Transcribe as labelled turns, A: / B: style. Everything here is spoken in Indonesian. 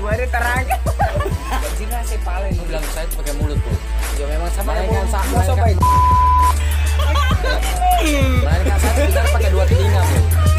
A: Baru terang.
B: Bajingan saya paling Lu bilang saya pakai mulut tuh Ya memang sama
C: Mainkan
B: Bu.
C: sa-
B: Masa
C: mainkan-
B: pakai- Mainkan satu besar pakai dua telinga bu